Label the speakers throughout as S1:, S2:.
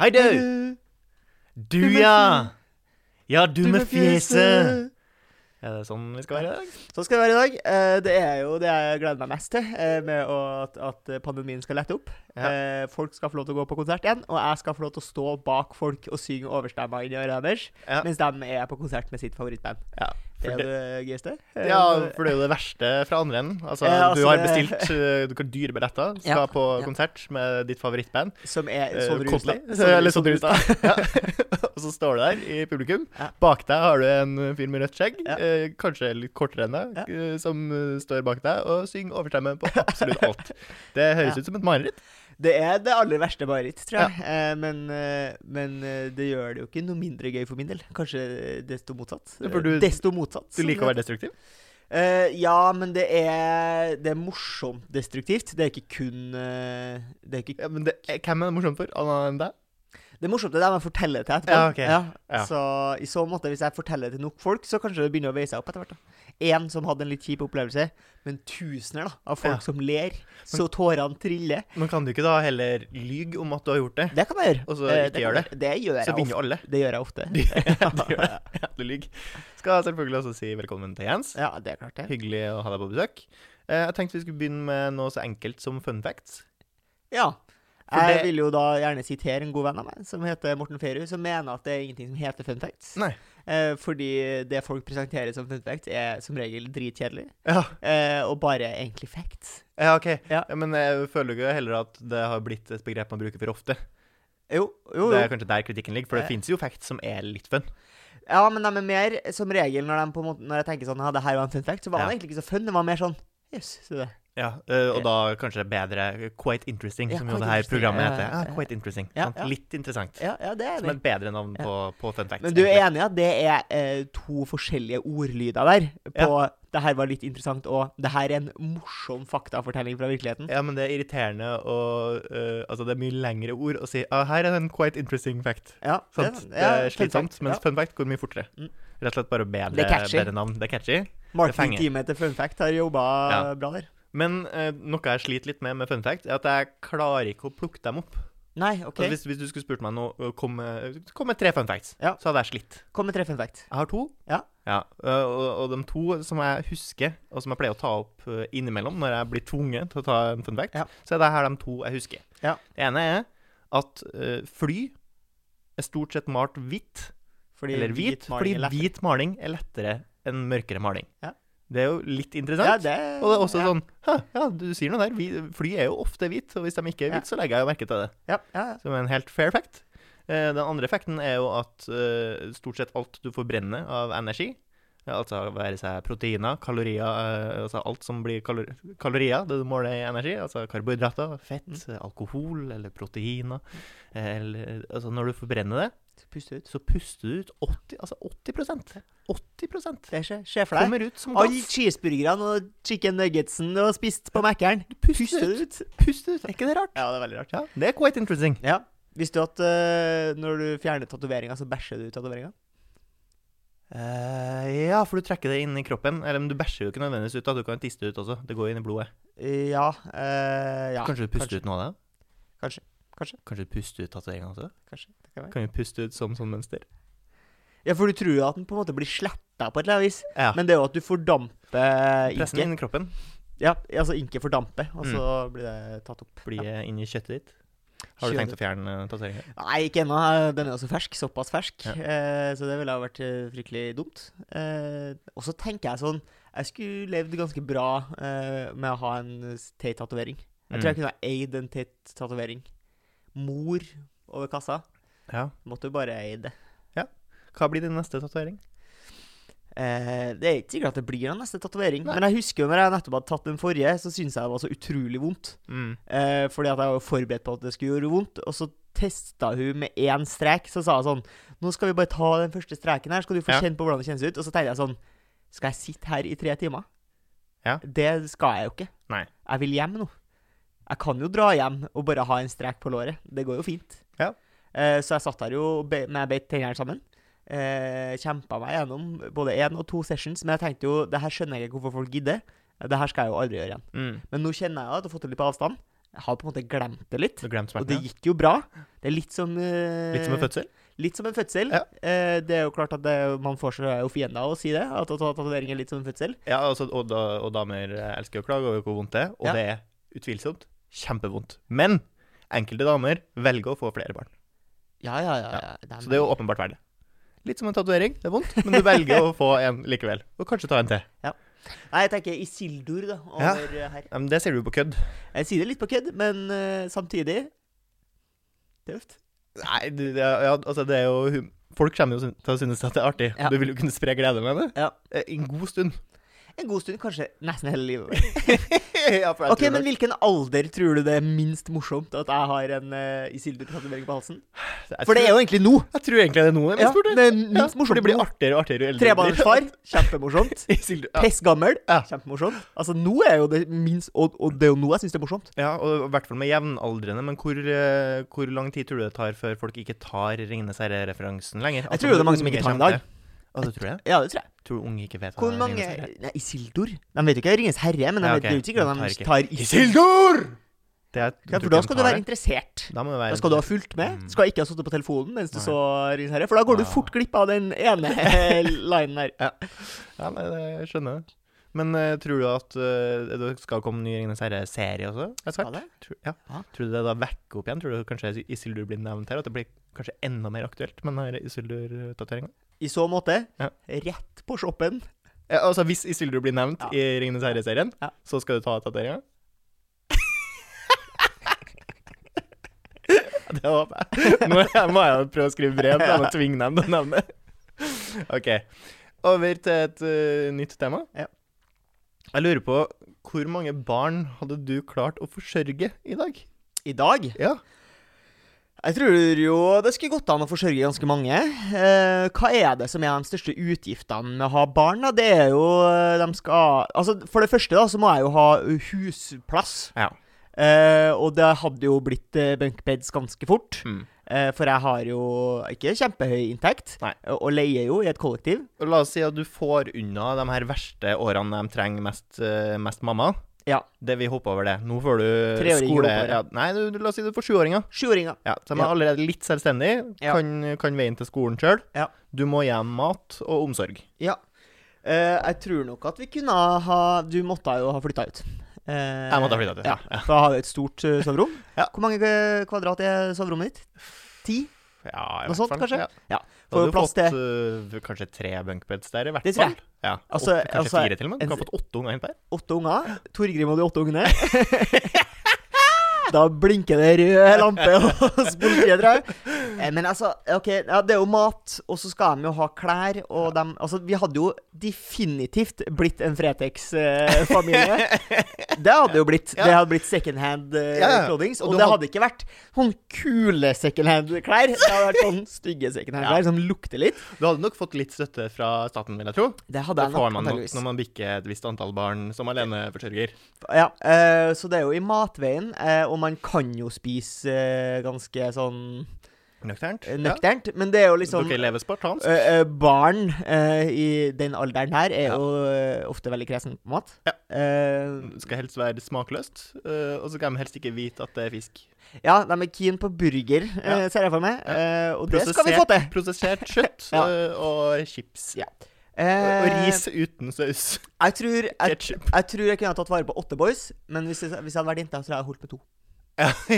S1: Hei, du! Du,
S2: Du med
S1: ja! Ja, du
S2: Du
S1: med fjeset! Er det sånn vi skal være i dag?
S2: Sånn skal det være i dag. Eh, Det er jo det jeg gleder meg mest til, eh, med å- at, at pandemien skal lette opp.
S1: Ja.
S2: Eh, Folk skal få lov til å gå på konsert igjen, og jeg skal få lov til å stå bak folk og synge overstemmer inn i øret deres,
S1: Ja.
S2: mens de er på konsert med sitt favorittband.
S1: Ja,
S2: Det
S1: for
S2: er
S1: det,
S2: det gøyeste. Eh,
S1: ja, for det er jo det verste fra andre enden. Altså,
S2: Ja,
S1: du
S2: altså,
S1: har
S2: det-
S1: bestilt eh, du kan dyre billetter, skal
S2: Ja,
S1: på
S2: ja.
S1: konsert med ditt favorittband.
S2: Som er
S1: Eh,
S2: Sondre
S1: Kodli,
S2: Justad.
S1: Eller Sondre Justad. Ja. Og så står du der i publikum.
S2: Ja.
S1: Bak deg har du en fyr med rødt skjegg,
S2: Ja.
S1: eh, kanskje litt kortere enn deg,
S2: Ja.
S1: eh, som eh, står bak deg og synger overstemme på absolutt alt. Det høres
S2: Ja.
S1: ut som et mareritt.
S2: Det er det aller verste mareritt, tror jeg. Eh, Men, eh, men eh, det gjør det jo ikke noe mindre gøy for min del. Kanskje desto motsatt.
S1: Ja, for du-
S2: desto motsatt.
S1: Du
S2: som
S1: liker å
S2: det
S1: være destruktiv.
S2: Eh, ja, men det er, det er morsomt destruktivt. Det er ikke kun eh, det, er ikke,
S1: Ja, men det, eh, hvem er det morsomt for, annet enn deg?
S2: det morsomt er det man forteller til etterpå.
S1: Ja, ok. Ja.
S2: Så i så måte, hvis jeg forteller til nok folk, så kanskje det begynner å veie seg opp etter hvert. da. Én som hadde en litt kjip opplevelse, men tusener da, av folk
S1: Ja.
S2: som ler, så tårene triller.
S1: Men kan du ikke da heller lyge om at du har gjort det?
S2: Det kan man gjøre.
S1: Og så
S2: Eh,
S1: ikke gjør
S2: kan man- Det gjør jeg
S1: Så vinner
S2: ofte.
S1: jo alle.
S2: Det gjør jeg ofte.
S1: Du, du gjør det. Ja, du lyver. Skal selvfølgelig også si velkommen til Jens.
S2: Ja, det er klart det.
S1: Hyggelig å ha deg på besøk. Eh, Jeg tenkte vi skulle begynne med noe så enkelt som fun facts.
S2: Ja.
S1: For
S2: Jeg
S1: det-
S2: vil jo da gjerne sitere en god venn av meg, som heter Morten Ferud, som mener at det er ingenting som heter fun facts.
S1: Nei.
S2: Eh, fordi det folk presenterer som fun facts, er som regel dritkjedelig,
S1: Ja,
S2: eh, og bare egentlig facts.
S1: Ja, ok. Ja.
S2: Ja.
S1: men jeg føler jo heller at det har blitt et begrep man bruker for ofte.
S2: Jo, jo,
S1: Det
S2: jo.
S1: er kanskje der kritikken ligger, for det
S2: Eh.
S1: finnes jo facts som er litt fun.
S2: Ja, men de er mer som regel når, de på en måte, når jeg tenker sånn, ja, det her var en fun fact, så var
S1: Ja.
S2: det egentlig ikke så fun, det var mer sånn, jøss, se det.
S1: Ja, eh, Og da kanskje det er bedre Quite Interesting,
S2: Ja,
S1: som jo
S2: quite
S1: det her
S2: interesting.
S1: programmet
S2: Ja,
S1: heter.
S2: ja,
S1: Ja,
S2: ja.
S1: quite Interesting.
S2: Ja,
S1: sant?
S2: ja.
S1: Litt interessant.
S2: Ja, ja, det er
S1: Som
S2: det.
S1: et bedre navn
S2: Ja.
S1: på, på fun facts.
S2: Men du er
S1: egentlig.
S2: enig i at det er eh, to forskjellige ordlyder der, på det her var litt interessant, og det her er en morsom faktafortelling fra virkeligheten.
S1: Ja, men det er irriterende å eh, Altså, det er mye lengre ord å si ah, 'Her er en quite interesting fact'.
S2: Ja,
S1: Sant?
S2: det-
S1: Det
S2: ja,
S1: er
S2: fun
S1: slitsomt,
S2: fact,
S1: mens fun fact går mye fortere.
S2: Mm.
S1: Rett og slett bare bedre,
S2: Det er catchy.
S1: bedre navn. Det er catchy.
S2: ja.
S1: fenger.
S2: Marketingteamet til Fun Fact har jobba
S1: Ja.
S2: bra der.
S1: Men eh, noe jeg sliter litt med med fun fact, er at jeg klarer ikke å plukke dem opp.
S2: Nei, OK.
S1: Altså, hvis, hvis du skulle spurt meg nå øh, Kom med, kom med tre fun facts,
S2: Ja.
S1: så hadde jeg slitt.
S2: Kom med tre fun fact.
S1: Jeg har to.
S2: Ja.
S1: øh, og, og de to som jeg husker, og som jeg pleier å ta opp øh, innimellom når jeg blir tvunget til å ta en fun fact,
S2: Ja.
S1: så er det her de to jeg husker.
S2: Ja.
S1: Det ene er at øh, fly er stort sett malt hvitt,
S2: Fordi
S1: eller hvit,
S2: maling
S1: fordi
S2: er lettere.
S1: hvit maling er lettere enn mørkere maling.
S2: Ja.
S1: Det er jo litt interessant.
S2: ja, det,
S1: Og det er også
S2: ja.
S1: sånn Hæ, ja, du sier noe der. Vi, fly er jo ofte hvit, og hvis de ikke er
S2: Ja.
S1: hvit, så legger jeg jo merke til det.
S2: Ja, ja, ja.
S1: Som er en helt fair fact. Eh, Den andre effekten er jo at eh, stort sett alt du forbrenner av energi, eh, altså være seg proteiner, kalorier, eh, altså alt som blir kalor kalorier, det du måler i energi, altså karbohydrater, fett, eh, alkohol eller proteiner, eh, eller, altså når du forbrenner det,
S2: Pust ut.
S1: så puster du ut 80, altså 80 80
S2: Det skjer, skjer for deg.
S1: kommer ut som
S2: Alle
S1: gass.
S2: cheeseburgerne og chicken nuggetsen du har spist på Mækkern.
S1: Du puster
S2: Puster
S1: ut.
S2: det ut.
S1: Puster ut. Er ikke det rart?
S2: Ja, det er veldig rart.
S1: Ja, det er quite interesting.
S2: Ja. Visste du at eh, når du fjerner tatoveringa, så bæsjer du ut tatoveringa?
S1: Eh, ja, for du trekker det inn i kroppen. Eller men du bæsjer jo ikke nødvendigvis ut, da. Du kan tiste det ut også. Det går inn i blodet.
S2: Ja. eh, ja.
S1: kanskje du puster ut noe av det?
S2: Kanskje. Kanskje.
S1: Kanskje du puster ut tatoveringa også?
S2: Kanskje. Det kan være.
S1: Kan jo puste ut som sånn mønster.
S2: Ja, for du tror jo at den på en måte blir sletta på et eller annet vis.
S1: Ja.
S2: Men det er jo at du fordamper
S1: Pressen
S2: inken.
S1: inn i kroppen
S2: Ja, altså inken fordamper, og så
S1: Mm.
S2: blir det tatt opp.
S1: blir eh, inn i kjøttet ditt. Har du
S2: Kjøttet.
S1: tenkt å fjerne eh, tatoveringa?
S2: Nei, ikke ennå. Den er jo så fersk. Såpass fersk.
S1: Ja.
S2: Eh, så det ville ha vært eh, fryktelig dumt. Eh, og så tenker jeg sånn Jeg skulle levd ganske bra eh, med å ha en Tate-tatovering. Jeg
S1: Mm.
S2: tror jeg kunne ha eid en Tate-tatovering. Mor over kassa.
S1: Ja.
S2: Måtte jo bare eid det.
S1: Hva blir din neste tatovering?
S2: Eh, det er ikke sikkert at det blir den neste tatovering,
S1: Nei.
S2: men jeg husker jo når jeg nettopp hadde tatt den forrige, så syntes jeg det var så utrolig vondt.
S1: Mm.
S2: Eh, fordi at jeg var jo forberedt på at det skulle gjøre vondt. Og så testa hun med én strek. Så sa hun sånn Nå skal vi bare ta den første streken her, skal du få
S1: Ja.
S2: kjenne på hvordan det kjennes ut. Og så tenkte jeg sånn Skal jeg sitte her i tre timer?
S1: Ja.
S2: Det skal jeg jo ikke.
S1: Nei.
S2: Jeg vil hjem nå. Jeg kan jo dra hjem og bare ha en strek på låret. Det går jo fint.
S1: Ja.
S2: Eh, så jeg satt der jo be- med jeg beit tennene sammen. Eh, Kjempa meg gjennom både én og to sessions. Men jeg tenkte jo det her skjønner jeg ikke hvorfor folk gidder. Det her skal jeg jo aldri gjøre igjen.
S1: Mm.
S2: Men nå kjenner jeg at jeg har fått det litt på avstand. Jeg har på en måte glemt det litt.
S1: Du glemte
S2: Og det
S1: smerten. ja.
S2: gikk jo bra. Det er litt som eh,
S1: Litt som en fødsel.
S2: Litt som en fødsel.
S1: Ja.
S2: Eh, det er jo klart at det, man får seg jo fiender av å si det, at å ta tatovering er litt som en fødsel.
S1: Ja, altså, og, da, og damer eh, elsker å klage over hvor vondt det er, og
S2: Ja.
S1: det er utvilsomt kjempevondt. Men enkelte damer velger å få flere barn,
S2: Ja, ja, ja. ja. er
S1: så det er jo åpenbart verdt det. Litt som en tatovering, det er vondt, men du velger å få en likevel. Og kanskje ta en til.
S2: Nei, jeg tenker Isildur, da,
S1: Ja.
S2: over eh, her.
S1: Ja, Men det ser du på kødd.
S2: Jeg sier det litt på kødd, men eh, samtidig Tøft.
S1: Nei, du, det, er- ja, altså det er jo hum- Folk kommer jo syn- til å synes at det er artig.
S2: Ja.
S1: Du vil jo kunne spre glede med det.
S2: Ja.
S1: Eh, En god stund.
S2: En god stund, kanskje nesten hele livet.
S1: ja, for jeg
S2: Ok,
S1: tror
S2: Men
S1: nok-
S2: hvilken alder tror du det er minst morsomt at jeg har en eh, Isildur-tatovering på halsen?
S1: jeg
S2: For det
S1: tror-
S2: er jo egentlig nå.
S1: Jeg tror egentlig det er noe jeg
S2: Ja,
S1: spurte.
S2: det er minst
S1: Ja, for
S2: morsomt
S1: det blir
S2: nå.
S1: artigere og artigere jo eldre du blir.
S2: Trebarnsfar, kjempemorsomt.
S1: Isildur, ja.
S2: Pess gammel,
S1: Ja.
S2: kjempemorsomt. Altså, nå er jo det minst Og, og det er jo nå jeg syns det er morsomt.
S1: ja, og i hvert fall med jevnaldrende. Men hvor, eh, hvor lang tid tror du det tar før folk ikke tar Ringenes herre-referansen lenger? Altså,
S2: tror jo det er mange som
S1: unge
S2: ikke tar den i
S1: kjemper.
S2: dag.
S1: Å, du tror det?
S2: Ja, det tror jeg.
S1: Tror du unge ikke vet
S2: Hvor
S1: hva
S2: mange
S1: Ringenes herre er?
S2: Nei, Isildur? De vet jo ikke Ringens herre, men de
S1: Ja,
S2: vet det er
S1: ok.
S2: jo ikke
S1: De
S2: sikkert at
S1: tar
S2: de tar Isildur.
S1: Isildur! Det er, tror ikke
S2: Ja, for da
S1: de
S2: skal
S1: tar
S2: du være
S1: det.
S2: interessert.
S1: Da må du være
S2: Da skal du ha fulgt med.
S1: Mm.
S2: Skal ikke ha sittet på telefonen mens du
S1: Nei. Ah.
S2: så Ringens herre, for da går du
S1: Ja.
S2: fort glipp av den ene linen her.
S1: Ja, nei, det, jeg skjønner det. Men eh, tror du at eh, det skal komme en ny Ringenes herre-serie også? etter hvert?
S2: Skal det?
S1: Tror, ja.
S2: Ja.
S1: tror du det da vekker opp igjen? Tror du kanskje Isildur blir nevnt her? At det blir kanskje enda mer aktuelt med den her Isildur-tatoveringa?
S2: I så måte,
S1: Ja.
S2: rett på shoppen.
S1: Ja, altså, hvis Isildur blir nevnt
S2: Ja.
S1: i Ringenes herre-serien,
S2: Ja.
S1: så skal du ta tatoveringa? det håper jeg. Nå må jeg prøve å skrive brev til dem og tvinge dem til å nevne det. OK. Over til et eh, nytt tema.
S2: Ja.
S1: Jeg lurer på hvor mange barn hadde du klart å forsørge i dag?
S2: I dag
S1: Ja.
S2: Jeg tror jo det skulle gått an å forsørge ganske mange. Eh, hva er det som er de største utgiftene med å ha barn? da? Det er jo eh, de skal Altså, For det første da, så må jeg jo ha husplass.
S1: Ja.
S2: Eh, og det hadde jo blitt eh, bunkbeds ganske fort.
S1: Mm.
S2: Eh, for jeg har jo ikke kjempehøy inntekt,
S1: Nei.
S2: eh, og leier jo i et kollektiv.
S1: Og La oss si at du får unna de her verste årene de trenger mest, eh, mest mamma.
S2: Ja.
S1: Det vi hopper over det. Nå får du
S2: Treåringer
S1: skole...
S2: hopper over.
S1: Ja, nei, du, du, la oss si du får sjuåringer.
S2: Sjuåringer.
S1: Ja, så de
S2: Ja.
S1: er allerede litt selvstendige.
S2: Ja.
S1: Kan, kan veien til skolen sjøl.
S2: Ja.
S1: Du må hjem mat og omsorg.
S2: Ja. Eh, jeg tror nok at vi kunne ha Du måtte jo ha flytta ut. Eh,
S1: Jeg måtte ha flyttet ut,
S2: Ja,
S1: ja.
S2: for jeg har jo et stort eh, soverom.
S1: Ja.
S2: Hvor mange eh, kvadrat er soverommet ditt? Ti?
S1: Ja, i
S2: Noe
S1: hvert
S2: sånt,
S1: fall.
S2: kanskje?
S1: Ja.
S2: Ja.
S1: Da
S2: Får
S1: hadde
S2: jo
S1: du
S2: plass
S1: fått
S2: til
S1: eh, kanskje tre bunkbeds der, i hvert fall.
S2: Det tror jeg.
S1: Ja.
S2: Altså,
S1: åtte, kanskje
S2: altså,
S1: fire til og med. Du
S2: en-
S1: kan ha fått åtte unger innpå her.
S2: åtte unger. Torgrim og de åtte ungene. Da blinker det rød lampe hos politiet, tror jeg. Eh, Men altså, ok, ja, det er jo mat, og så skal de jo ha klær, og de Altså, vi hadde jo definitivt blitt en Fretex-familie. Det hadde jo blitt. Det hadde blitt secondhand eh,
S1: Ja, ja.
S2: clothings,
S1: Og
S2: og
S1: du
S2: det
S1: hadde-
S2: hadde ikke vært sånn kule secondhand-klær. Det hadde vært sånn stygge secondhand-klær som lukter litt.
S1: Du hadde nok fått litt støtte fra staten, vil jeg tro.
S2: Det
S1: Det
S2: hadde jeg
S1: får man nok
S2: antageligvis.
S1: når man bikker et visst antall barn som aleneforsørger.
S2: Ja, eh, så det er jo i matveien, eh, og man kan jo spise eh, ganske sånn
S1: Nøkternt.
S2: eh,
S1: Ja.
S2: nøkternt, men det er jo liksom
S1: Dere lever spartansk.
S2: eh, eh, barn eh, i den alderen her er
S1: Ja.
S2: jo eh, ofte veldig kresen på mat.
S1: Ja.
S2: Eh,
S1: Det skal helst være smakløst, eh, og så skal de helst ikke vite at det er fisk.
S2: ja, de er keen på burger, eh,
S1: Ja.
S2: ser jeg for meg.
S1: Ja.
S2: Eh, og det skal vi få til.
S1: Prosessert kjøtt
S2: Ja.
S1: eh, og chips.
S2: Ja.
S1: Og,
S2: Eh,
S1: og ris uten saus.
S2: Jeg tror jeg,
S1: Ketchup.
S2: jeg tror jeg kunne ha tatt vare på åtte boys, men hvis jeg, hvis jeg hadde vært jente, så tror jeg jeg hadde holdt med to.
S1: Ja,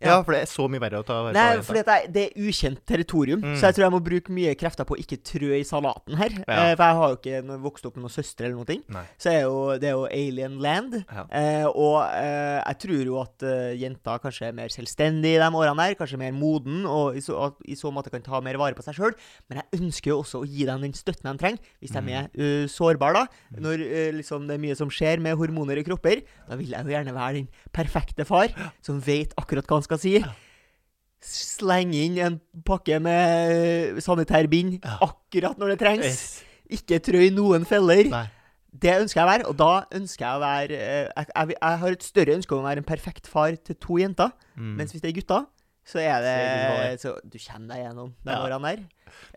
S1: ja. for det er så mye verre å ta vare
S2: Nei,
S1: på.
S2: fordi at jeg, det er ukjent territorium,
S1: Mm.
S2: så jeg tror jeg må bruke mye krefter på å ikke trø i salaten her.
S1: Ja.
S2: Eh, for jeg har jo ikke noe- vokst opp med noen søstre eller noen ting.
S1: Nei.
S2: Så er jo, det er jo alien land.
S1: Ja.
S2: Eh, og eh, jeg tror jo at eh, jenter kanskje er mer selvstendige i de årene der, kanskje mer moden, og i så, at, i så måte kan ta mer vare på seg sjøl. Men jeg ønsker jo også å gi dem den støtten de trenger, hvis
S1: Mm.
S2: de er eh, sårbare, da. Når eh, liksom det er mye som skjer med hormoner i kropper, da vil jeg jo gjerne være den perfekte far som vet akkurat hva han skal si. Slenge inn en pakke med eh, sanitærbind
S1: Ja.
S2: akkurat når det trengs.
S1: Yes.
S2: Ikke trø i noen feller.
S1: Eh, Nei.
S2: Det ønsker jeg å være, og da ønsker jeg å være eh, jeg, jeg, vil- jeg har et større ønske om å være en perfekt far til to jenter,
S1: Mm.
S2: mens hvis det er gutter, så er det
S1: er
S2: så Du kjenner deg gjennom de
S1: Ja.
S2: årene der.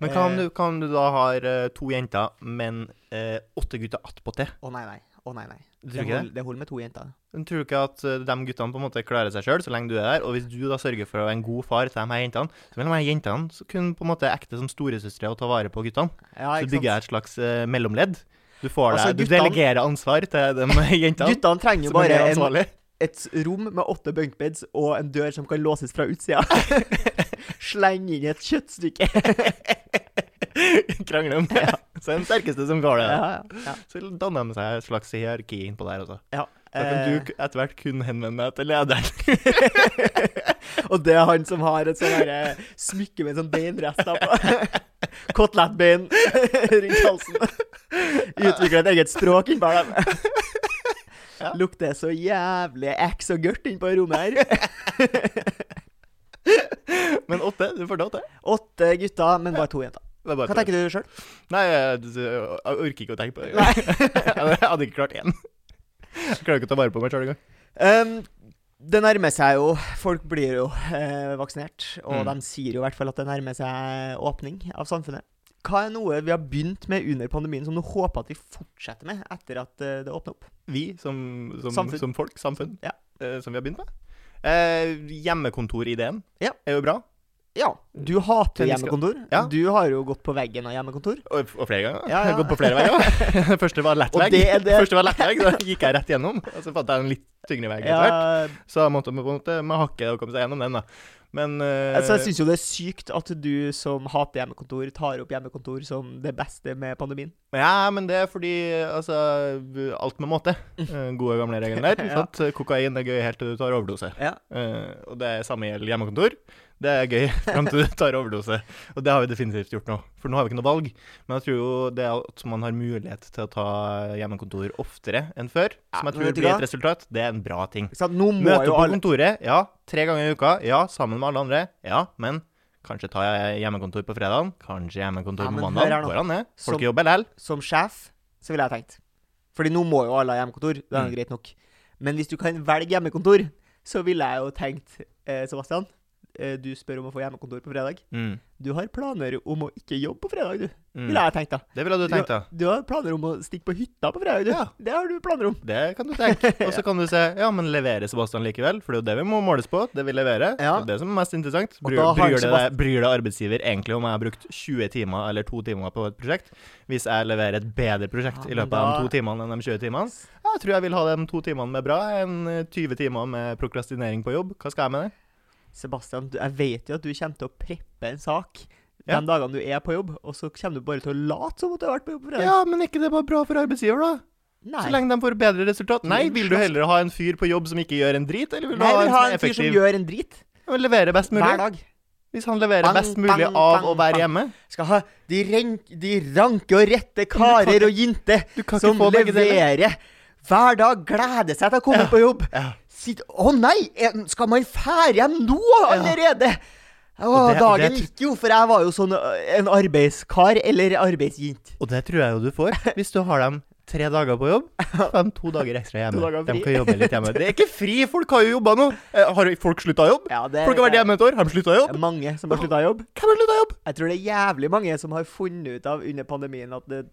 S1: Men hva om du, hva om du da har eh, to jenter, men eh, åtte gutter attpåtil?
S2: Å nei, nei. Å, nei, nei.
S1: Du
S2: Det
S1: tror ikke det?
S2: holder, det holder med to jenter.
S1: Men tror du ikke at eh, de guttene på en måte klarer seg sjøl så lenge du er der? Og hvis du da sørger for å være en god far til de her jentene, så vil de her jentene så kunne på en måte ekte som storesøstre og ta vare på guttene.
S2: Ja,
S1: Så
S2: ikke
S1: du bygger
S2: sant?
S1: et slags eh, mellomledd. Du, får
S2: Altså,
S1: deg, du
S2: guttene-
S1: delegerer ansvar til de jentene.
S2: Guttene trenger jo
S1: som er
S2: bare
S1: mer
S2: en,
S1: ansvarlig.
S2: et rom med åtte bunkbeds og en dør som kan låses fra utsida. Sleng inn et kjøttstykke.
S1: Krangler om det. Så er den sterkeste som går det.
S2: Ja, ja,
S1: Så danner de seg et slags hierarki innpå der også.
S2: ja.
S1: Da kan
S2: Eh,
S1: du k- etter hvert kun henvende deg til lederen.
S2: og det er han som har et sånn derre smykke med sånn beinrester på. Kotelettbein rundt halsen. Utvikler et eget språk innpå dem.
S1: Ja.
S2: Lukter så jævlig eks og gørt innpå rommet her.
S1: Men åtte, du får til åtte.
S2: Åtte gutter, men bare to jenter.
S1: Det er bare
S2: Hva
S1: to.
S2: tenker du sjøl?
S1: Nei, jeg, jeg orker ikke å tenke på det.
S2: Nei.
S1: jeg hadde ikke klart én. Jeg klarer ikke å ta vare på meg sjøl engang.
S2: Um, det nærmer seg jo. Folk blir jo eh, vaksinert. Og
S1: Mm.
S2: de sier jo i hvert fall at det nærmer seg åpning av samfunnet. Hva er noe vi har begynt med under pandemien som du håper at vi fortsetter med etter at eh, det åpner opp?
S1: Vi som, som,
S2: Samfunn.
S1: som folk, samfunn,
S2: Ja.
S1: eh, som vi har begynt med. Eh, hjemmekontorideen
S2: Ja.
S1: er jo bra,
S2: Ja, du hater
S1: Tennis-
S2: hjemmekontor.
S1: Ja.
S2: Du har jo gått på veggen av hjemmekontor.
S1: og, og flere ganger.
S2: Ja,
S1: Jeg har
S2: ja.
S1: gått på flere veier. Første var lett
S2: Og
S1: vei.
S2: det er det-
S1: Første var lett vei, da gikk jeg rett gjennom. Og så fant jeg en litt tyngre vei. etter hvert.
S2: Ja,
S1: Så jeg måtte på en måte med hakket å komme seg gjennom den, da. Men eh,
S2: altså, jeg syns jo det er sykt at du som hater hjemmekontor, tar opp hjemmekontor som det beste med pandemien.
S1: Ja, men det er fordi altså, alt med måte. Eh, Gode, gamle regler der.
S2: Ja.
S1: sant? Kokain er gøy helt til du tar overdose.
S2: Ja.
S1: Eh, og det er samme gjelder hjemmekontor. Det er gøy fram til du tar overdose. Og det har vi definitivt gjort nå, for nå har vi ikke noe valg. Men jeg tror jo det at man har mulighet til å ta hjemmekontor oftere enn før,
S2: Ja,
S1: som jeg
S2: men vet
S1: tror
S2: du
S1: blir
S2: hva?
S1: et resultat, det er en bra ting.
S2: Ikke sant? Nå må
S1: Møte
S2: jo
S1: på
S2: alle
S1: kontoret, ja. Tre ganger i uka, ja. Sammen med alle andre, ja. Men kanskje tar jeg hjemmekontor på fredagen, kanskje hjemmekontor
S2: Ja,
S1: på
S2: men hør her
S1: mandag.
S2: nå.
S1: Går an, det.
S2: Som-
S1: Folk jobber likevel.
S2: som sjef, så ville jeg tenkt. Fordi nå må jo alle ha hjemmekontor, det er
S1: Mm.
S2: jo greit nok. Men hvis du kan velge hjemmekontor, så ville jeg jo tenkt, eh, Sebastian, eh, du spør om å få hjemmekontor på fredag.
S1: Mm.
S2: Du har planer om å ikke jobbe på fredag, du.
S1: Mm.
S2: Ville jeg tenkt, da.
S1: Det ville du tenkt, da.
S2: Du har planer om å stikke på hytta på fredag, du.
S1: Ja.
S2: Det har du planer om.
S1: Det kan du tenke. Og så kan du se ja, men leverer Sebastian likevel? For det er jo det vi må måles på. Det vi leverer.
S2: Ja.
S1: Det er det som er mest interessant.
S2: Og
S1: Bryr,
S2: da har
S1: bryr, det
S2: Sebast-
S1: deg, bryr det arbeidsgiver egentlig om jeg har brukt 20 timer eller 2 timer på et prosjekt? Hvis jeg leverer et bedre prosjekt
S2: Ja,
S1: i
S2: men
S1: løpet av
S2: da-
S1: de 2 timene enn de 20 timene? Jeg tror jeg vil ha de 2 timene med bra enn eh, 20 timer med prokrastinering på jobb. Hva skal jeg med det?
S2: Sebastian, du, jeg vet jo at du kommer til å preppe en sak
S1: Ja.
S2: de dagene du er på jobb, og så kommer du bare til å late som at du har vært på jobb på fredag.
S1: Ja, men ikke det bare bra for arbeidsgiver, da? Så
S2: Nei.
S1: lenge de får bedre resultat. Nei, vil du heller ha en fyr på jobb som ikke gjør en drit, eller vil du
S2: Nei, jeg
S1: ha
S2: vil
S1: en
S2: ha
S1: som er
S2: en fyr som
S1: effektiv?
S2: gjør en drit.
S1: Leverer best mulig?
S2: Hver dag.
S1: Hvis han leverer
S2: Bang,
S1: best mulig
S2: bang,
S1: av
S2: bang,
S1: å være
S2: bang.
S1: hjemme?
S2: skal ha de, ren, de ranke og rette karer og jenter
S1: Du kan
S2: som
S1: ikke få begge deler.
S2: leverer hver dag, gleder seg til å komme
S1: Ja.
S2: på jobb.
S1: Ja.
S2: Sitt, å nei, en- skal man fære hjem nå allerede? Å,
S1: Og det- og det
S2: dagen
S1: tr-
S2: gikk jo, for jeg var jo sånn ø, en arbeidskar eller arbeidsjint.
S1: Og det tror jeg jo du får hvis du har dem tre dager på jobb. Får dem to dager ekstra
S2: To
S1: hjemme.
S2: dager
S1: De
S2: fri.
S1: kan jobbe litt hjemme. Det er ikke fri! Folk har jo jobba nå. Eh, Har folk slutta jobb?
S2: Ja, det
S1: Folk har vært hjemme et år. Har de slutta jobb?
S2: mange som har slutta jobb.
S1: Hvem har slutta jobb?
S2: Jeg tror det er jævlig mange som har funnet ut av under pandemien at, det,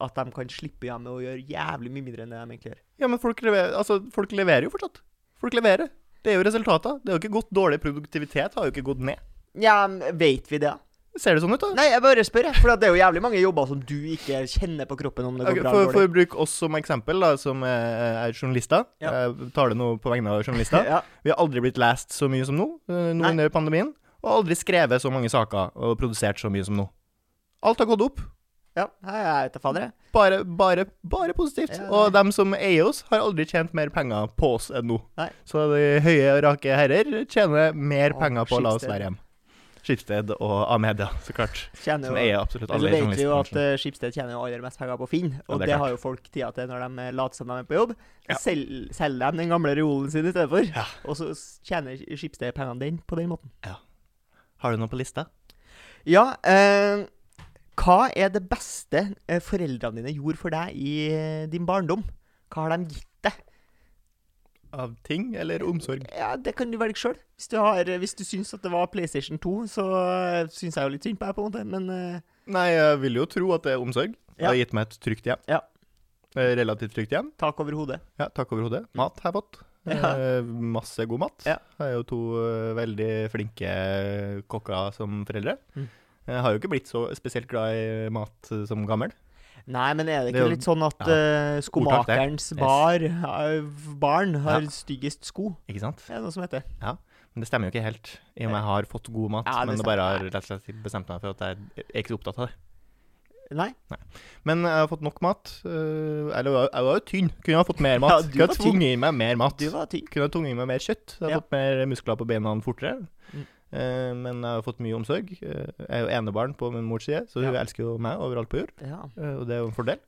S2: at de kan slippe hjemme og gjøre jævlig mye mindre enn det de egentlig gjør.
S1: Ja, men folk leverer, altså, folk leverer jo fortsatt. Folk leverer. Det er jo resultater. Det er jo ikke gått dårlig. Produktivitet har jo ikke gått ned.
S2: Ja, men vet vi det? da?
S1: Ser det sånn ut, da?
S2: Nei, jeg bare spør, jeg. For at det er jo jævlig mange jobber som du ikke kjenner på kroppen om det går
S1: Ok,
S2: bra
S1: for,
S2: eller
S1: for
S2: dårlig.
S1: å bruke oss som eksempel, da, som eh, er journalister.
S2: Ja.
S1: Jeg tar det nå på vegne av journalister.
S2: Ja.
S1: Vi har aldri blitt lest så mye som nå, eh, nå
S2: Nei.
S1: under pandemien. Og aldri skrevet så mange saker og produsert så mye som nå. Alt har gått opp.
S2: ja, Nei, jeg vet da fader, jeg.
S1: Bare, bare, bare positivt.
S2: Ja.
S1: Og dem som eier oss, har aldri tjent mer penger på oss enn nå.
S2: Nei.
S1: Så de høye og rake herrer tjener mer
S2: Og
S1: penger på å la oss
S2: Schibsted.
S1: være hjemme. Schibsted og Amedia, så klart.
S2: Tjener
S1: Som
S2: jo
S1: eier absolutt
S2: men
S1: alle
S2: så vet vi jo at
S1: journalistbransjen.
S2: eh, Schibsted tjener jo aller mest penger på Finn, og
S1: det er
S2: det, har jo folk tida til når de eh, later som de er på jobb.
S1: Ja.
S2: Selg- Selger de den gamle reolen sin i stedet for,
S1: Ja.
S2: og så s- tjener Schibsted pengene den på den måten.
S1: Har du noe på lista?
S2: Ja, eh, hva er det beste eh, foreldrene dine gjorde for deg i eh, din barndom? Hva har de gitt deg?
S1: Av ting eller omsorg?
S2: Ja, det kan du velge sjøl. Hvis, du har- eh, hvis du syns at det var PlayStation 2, så eh, syns jeg jo litt synd på deg, på en måte, men eh,
S1: Nei, jeg vil jo tro at det er omsorg. Det
S2: Ja.
S1: har gitt meg et trygt hjem.
S2: Ja.
S1: Eh, Relativt trygt igjen.
S2: Tak over hodet.
S1: Ja, takk over hodet. Mat har jeg fått.
S2: Mm. Ja.
S1: Eh, Masse god mat.
S2: Ja.
S1: Jeg er jo to eh, veldig flinke kokker som foreldre.
S2: Mm.
S1: Jeg har jo ikke blitt så spesielt glad i mat eh, som gammel.
S2: Nei, men er det
S1: Det er
S2: ikke
S1: jo-
S2: litt sånn at
S1: ja.
S2: eh,
S1: Ordtak der.
S2: skomakerens bar, eh, barn har
S1: Ja.
S2: styggest sko?
S1: Ikke sant?
S2: Er det noe som heter?
S1: Men det stemmer jo ikke helt, i og med jeg har fått god mat.
S2: Ja, det
S1: men det
S2: stemmer.
S1: bare har rett og slett bestemt meg for at jeg er ikke så opptatt av det.
S2: Nei?
S1: Men jeg har fått nok mat. eh, Eller jeg var- jeg var jo tynn. Kunne ha fått mer mat.
S2: Ja, du
S1: Kunne
S2: var
S1: ha
S2: tynn.
S1: tvunget i meg mer mat.
S2: Du var tynn.
S1: Kunne ha tvunget i meg mer kjøtt. Jeg har
S2: Ja.
S1: fått mer muskler på beina fortere.
S2: Mm.
S1: Eh, Men jeg har fått mye omsorg. Eh, Jeg er jo enebarn på min mors side, så hun
S2: Ja.
S1: elsker jo meg overalt på jord.
S2: Ja.
S1: eh, Og det er jo en fordel.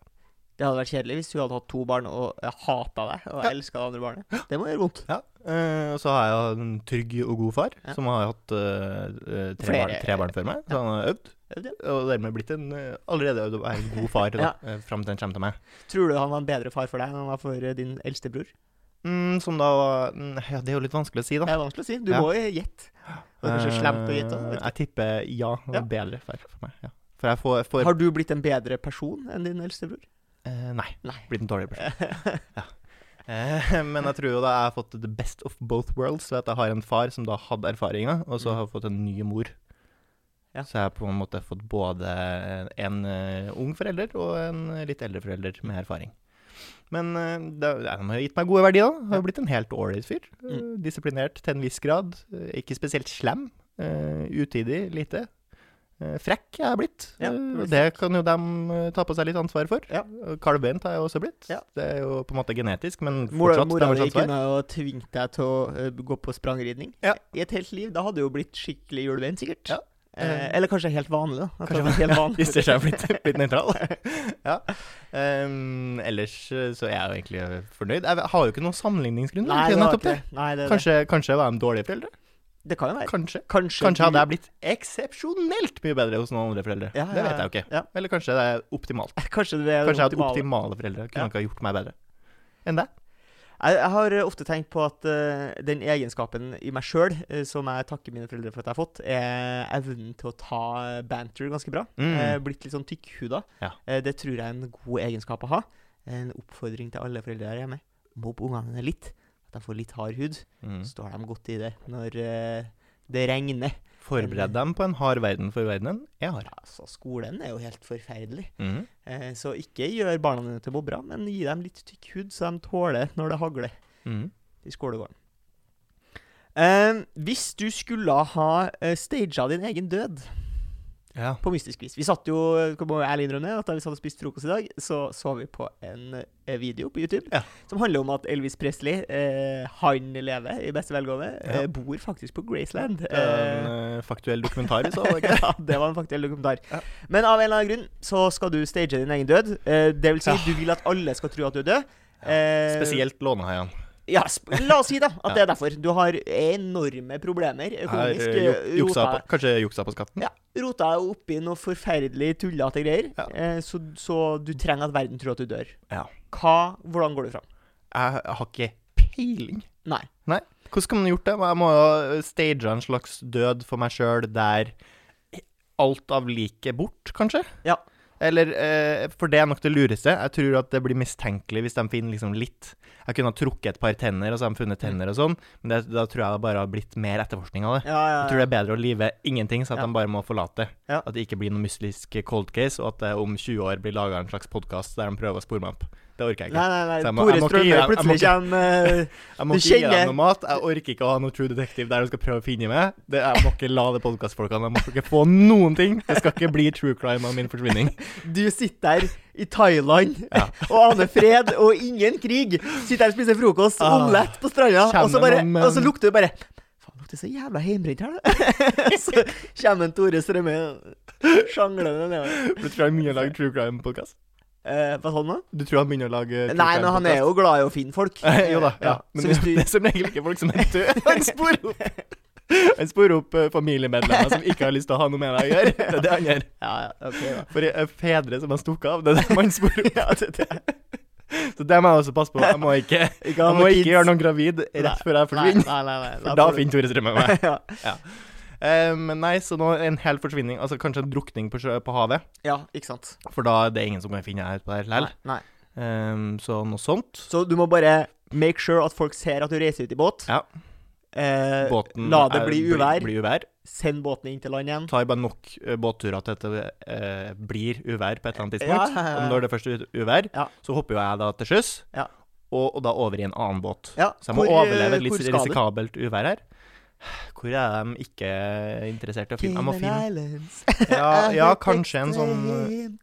S2: Det hadde vært kjedelig hvis du hadde hatt to barn og hata deg og
S1: Ja.
S2: elska det andre barnet. Det må gjøre vondt.
S1: Eh, Og så har jeg jo en trygg og god far,
S2: Ja.
S1: som har hatt eh, eh, tre,
S2: Flere-
S1: barn, tre barn før meg. Så han har øvd.
S2: Øvd,
S1: Og dermed blitt en eh, allerede øvd og er en god far da,
S2: Ja.
S1: eh, fram til han kommer til meg.
S2: Tror du han var en bedre far for deg enn han var for eh, din eldste bror?
S1: Mm, som da var mm, Ja, det er jo litt vanskelig å si,
S2: Det
S1: da.
S2: er vanskelig å si. Du
S1: Ja.
S2: må jo gjette. Det er kanskje slemt å gjette.
S1: Eh,
S2: vet
S1: Jeg tipper ja. Det var
S2: Ja.
S1: bedre far for meg. Ja. For jeg får, jeg
S2: du.
S1: får
S2: Har du blitt en bedre person enn din eldste bror?
S1: eh, Nei.
S2: Nei.
S1: Blitt en dårligere person. Eh, Men jeg tror jo da jeg har fått the best of both worlds. Ved at jeg har en far som da hadde erfaringa, og så har jeg fått en ny mor.
S2: Ja.
S1: Så jeg har på en måte fått både en eh, ung forelder og en litt eldre forelder med erfaring. Men eh, det, ja, de har gitt meg gode verdier. da. Jeg Har jo blitt en helt ålreit fyr. Eh,
S2: Mm.
S1: Disiplinert til en viss grad. Eh, Ikke spesielt slem. eh, utidig lite. Eh, Frekk jeg er blitt.
S2: Ja,
S1: Eh,
S2: du er
S1: og det kan jo dem eh, ta på seg litt ansvar for.
S2: Ja.
S1: Og Kalvbeint har jeg også blitt.
S2: Ja.
S1: Det er jo på en måte genetisk, men
S2: Mora,
S1: fortsatt
S2: mora
S1: deres
S2: di
S1: ansvar.
S2: kunne jo tvingt deg til å eh, gå på sprangridning
S1: Ja.
S2: i et helt liv. Da hadde du jo blitt skikkelig hjulbein, sikkert.
S1: Ja.
S2: Eh, eller kanskje helt vanlig, da. At
S1: Kanskje
S2: det var helt vanlig.
S1: Hvis det ikke er blitt, blitt nøytral. ja. Em, ellers eh, så er jeg jo egentlig fornøyd. Jeg har jo ikke noen sammenligningsgrunn
S2: Nei,
S1: til
S2: det, var
S1: nettopp
S2: ikke,
S1: det.
S2: det. nei det,
S1: Kanskje, kanskje jeg var en dårlig foreldre?
S2: det. det kan jo være.
S1: Kanskje.
S2: Kanskje,
S1: Kanskje hadde
S2: du-
S1: jeg blitt eksepsjonelt mye bedre hos noen andre foreldre.
S2: Ja,
S1: Det
S2: ja,
S1: vet jeg jo ikke.
S2: ja.
S1: Eller kanskje det er optimalt.
S2: Kanskje det er
S1: Kanskje jeg hadde
S2: optimale.
S1: optimale foreldre. Kunne
S2: Ja.
S1: ikke ha gjort meg bedre enn deg.
S2: Jeg, jeg har eh, ofte tenkt på at eh, den egenskapen i meg sjøl som jeg takker mine foreldre for at jeg har fått, er evnen til å ta eh, banter ganske bra.
S1: Mm.
S2: Eh, blitt litt sånn tykkhuda.
S1: Ja.
S2: Eh, det tror jeg er en god egenskap å ha. En oppfordring til alle foreldre her hjemme. Mobb ungene dine litt. At de får litt hard hud.
S1: Mm.
S2: Så står de godt i det når eh, det regner.
S1: Forbered dem på en hard verden for verdenen jeg har.
S2: Altså, skolen er jo helt forferdelig.
S1: Mm.
S2: Eh, så ikke gjør barna dine til mobbere, men gi dem litt tykk hud, så de tåler når det hagler.
S1: Mm.
S2: i skolegården. Eh, hvis du skulle ha uh, staged din egen død
S1: Ja.
S2: på mystisk vis Vi satt jo, jeg må ærlig innrømme at da vi satt og spiste frokost i dag, så så vi på en eh, video på YouTube
S1: Ja.
S2: som handler om at Elvis Presley, eh, han lever i beste velgående,
S1: Ja.
S2: eh, bor faktisk på Graceland.
S1: Det er en eh, faktuell dokumentar vi så. var det ikke det?
S2: ja, det var en faktisk dokumentar.
S1: Ja.
S2: Men av en eller annen grunn så skal du stage din egen død. Eh, det vil si,
S1: Ja.
S2: du vil at alle skal tro at du er død. Eh,
S1: Spesielt lånehaien.
S2: ja, sp la oss si da,
S1: Ja.
S2: at det er derfor. Du har enorme problemer
S1: Her,
S2: økonomisk.
S1: eh, ju- juksa
S2: Rota-
S1: på, kanskje juksa på skatten?
S2: Ja, rota deg opp i noe forferdelig tullete greier.
S1: Ja.
S2: Eh, så, så du trenger at verden tror at du dør.
S1: Ja.
S2: Hva, hvordan går du fram?
S1: Jeg har ikke peiling.
S2: Nei.
S1: Nei. Hvordan kan man gjort det? Jeg må jo stage en slags død for meg sjøl der alt av liket er bort, kanskje?
S2: Ja.
S1: Eller, eh, for det er nok det lureste. Jeg tror at det blir mistenkelig hvis de finner liksom litt Jeg kunne ha trukket et par tenner, og så har de funnet tenner og sånn, men det, da tror jeg det bare har blitt mer etterforskning av det.
S2: Ja, ja,
S1: Jeg tror det er bedre å live ingenting, så at
S2: Ja.
S1: de bare må forlate.
S2: Ja.
S1: At det ikke blir noe mystisk cold case, og at det om 20 år blir laga en slags podkast der de prøver å spore meg opp. Det orker jeg ikke.
S2: Nei, nei, nei.
S1: Så jeg må-
S2: Tore
S1: jeg må ikke gi
S2: Strømøy
S1: deg- jeg må
S2: plutselig kommer eh,
S1: Jeg må
S2: Du
S1: ikke gi
S2: kjenner-
S1: dem noe mat. Jeg orker ikke å ha noe True Detective der de skal prøve å finne meg. Det, jeg må ikke la det podkastfolkene Jeg må ikke få noen ting. Det skal ikke bli true crime av min forsvinning.
S2: Du sitter der i Thailand og aner fred og ingen krig. Sitter der og spiser frokost,
S1: Ah.
S2: omelett på stranda, og så,
S1: Kjenner
S2: bare,
S1: noen, men-
S2: og så lukter du bare Faen, lukter så jævla hjemmebrent her, da. så kommer en Tore Strømøy sjanglende nedover.
S1: Du tror han begynner å lage true crime-podkast?
S2: Eh, hva sa han nå?
S1: Du tror han begynner å lage true
S2: Nei, men han er jo glad i å finne folk.
S1: Eh, Jo da. Ja. Men
S2: Så hvis du
S1: det er som regel ikke folk som er døde. Han sporer opp, han sporer opp eh, familiemedlemmer som ikke har lyst til å ha noe med deg å gjøre. Det er det han gjør.
S2: Ja, ja, ok, da.
S1: For eh, fedre som har stukket av, det er det man spor opp. Så det må jeg også passe på. Jeg må ikke,
S2: Ikke ha
S1: jeg må
S2: noe
S1: ikke
S2: kids.
S1: gjøre noen gravid
S2: Nei,
S1: rett før jeg
S2: Nei,
S1: forsvinner.
S2: nei, nei. nei.
S1: For da
S2: får du-
S1: finner Tore Strømme meg.
S2: ja.
S1: Eh, Men nei, så nå en hel forsvinning, altså kanskje en drukning på, sjø, på havet.
S2: ja, ikke sant.
S1: For da er det ingen som kan finne deg utpå der likevel.
S2: Nei. nei.
S1: Ehm, så noe sånt.
S2: Så du må bare make sure at folk ser at du reiser ut i båt.
S1: Ja.
S2: Eh,
S1: Båten
S2: la det
S1: er-
S2: bli uvær.
S1: Blir, blir uvær.
S2: Send båten inn til land igjen.
S1: Tar bare nok eh, båtturer til at det eh, blir uvær på et eller annet
S2: Ja,
S1: tidspunkt.
S2: ja, ja.
S1: Og når det først er u- uvær,
S2: Ja.
S1: så hopper jo jeg da til sjøs,
S2: Ja.
S1: og, og da over i en annen båt.
S2: Ja,
S1: Så jeg må
S2: hvor, eh,
S1: overleve et
S2: hvor
S1: litt
S2: skal du?
S1: risikabelt uvær her. Hvor er de ikke interessert i å finne? Jeg må finne
S2: Islands.
S1: ja, ja, kanskje en sånn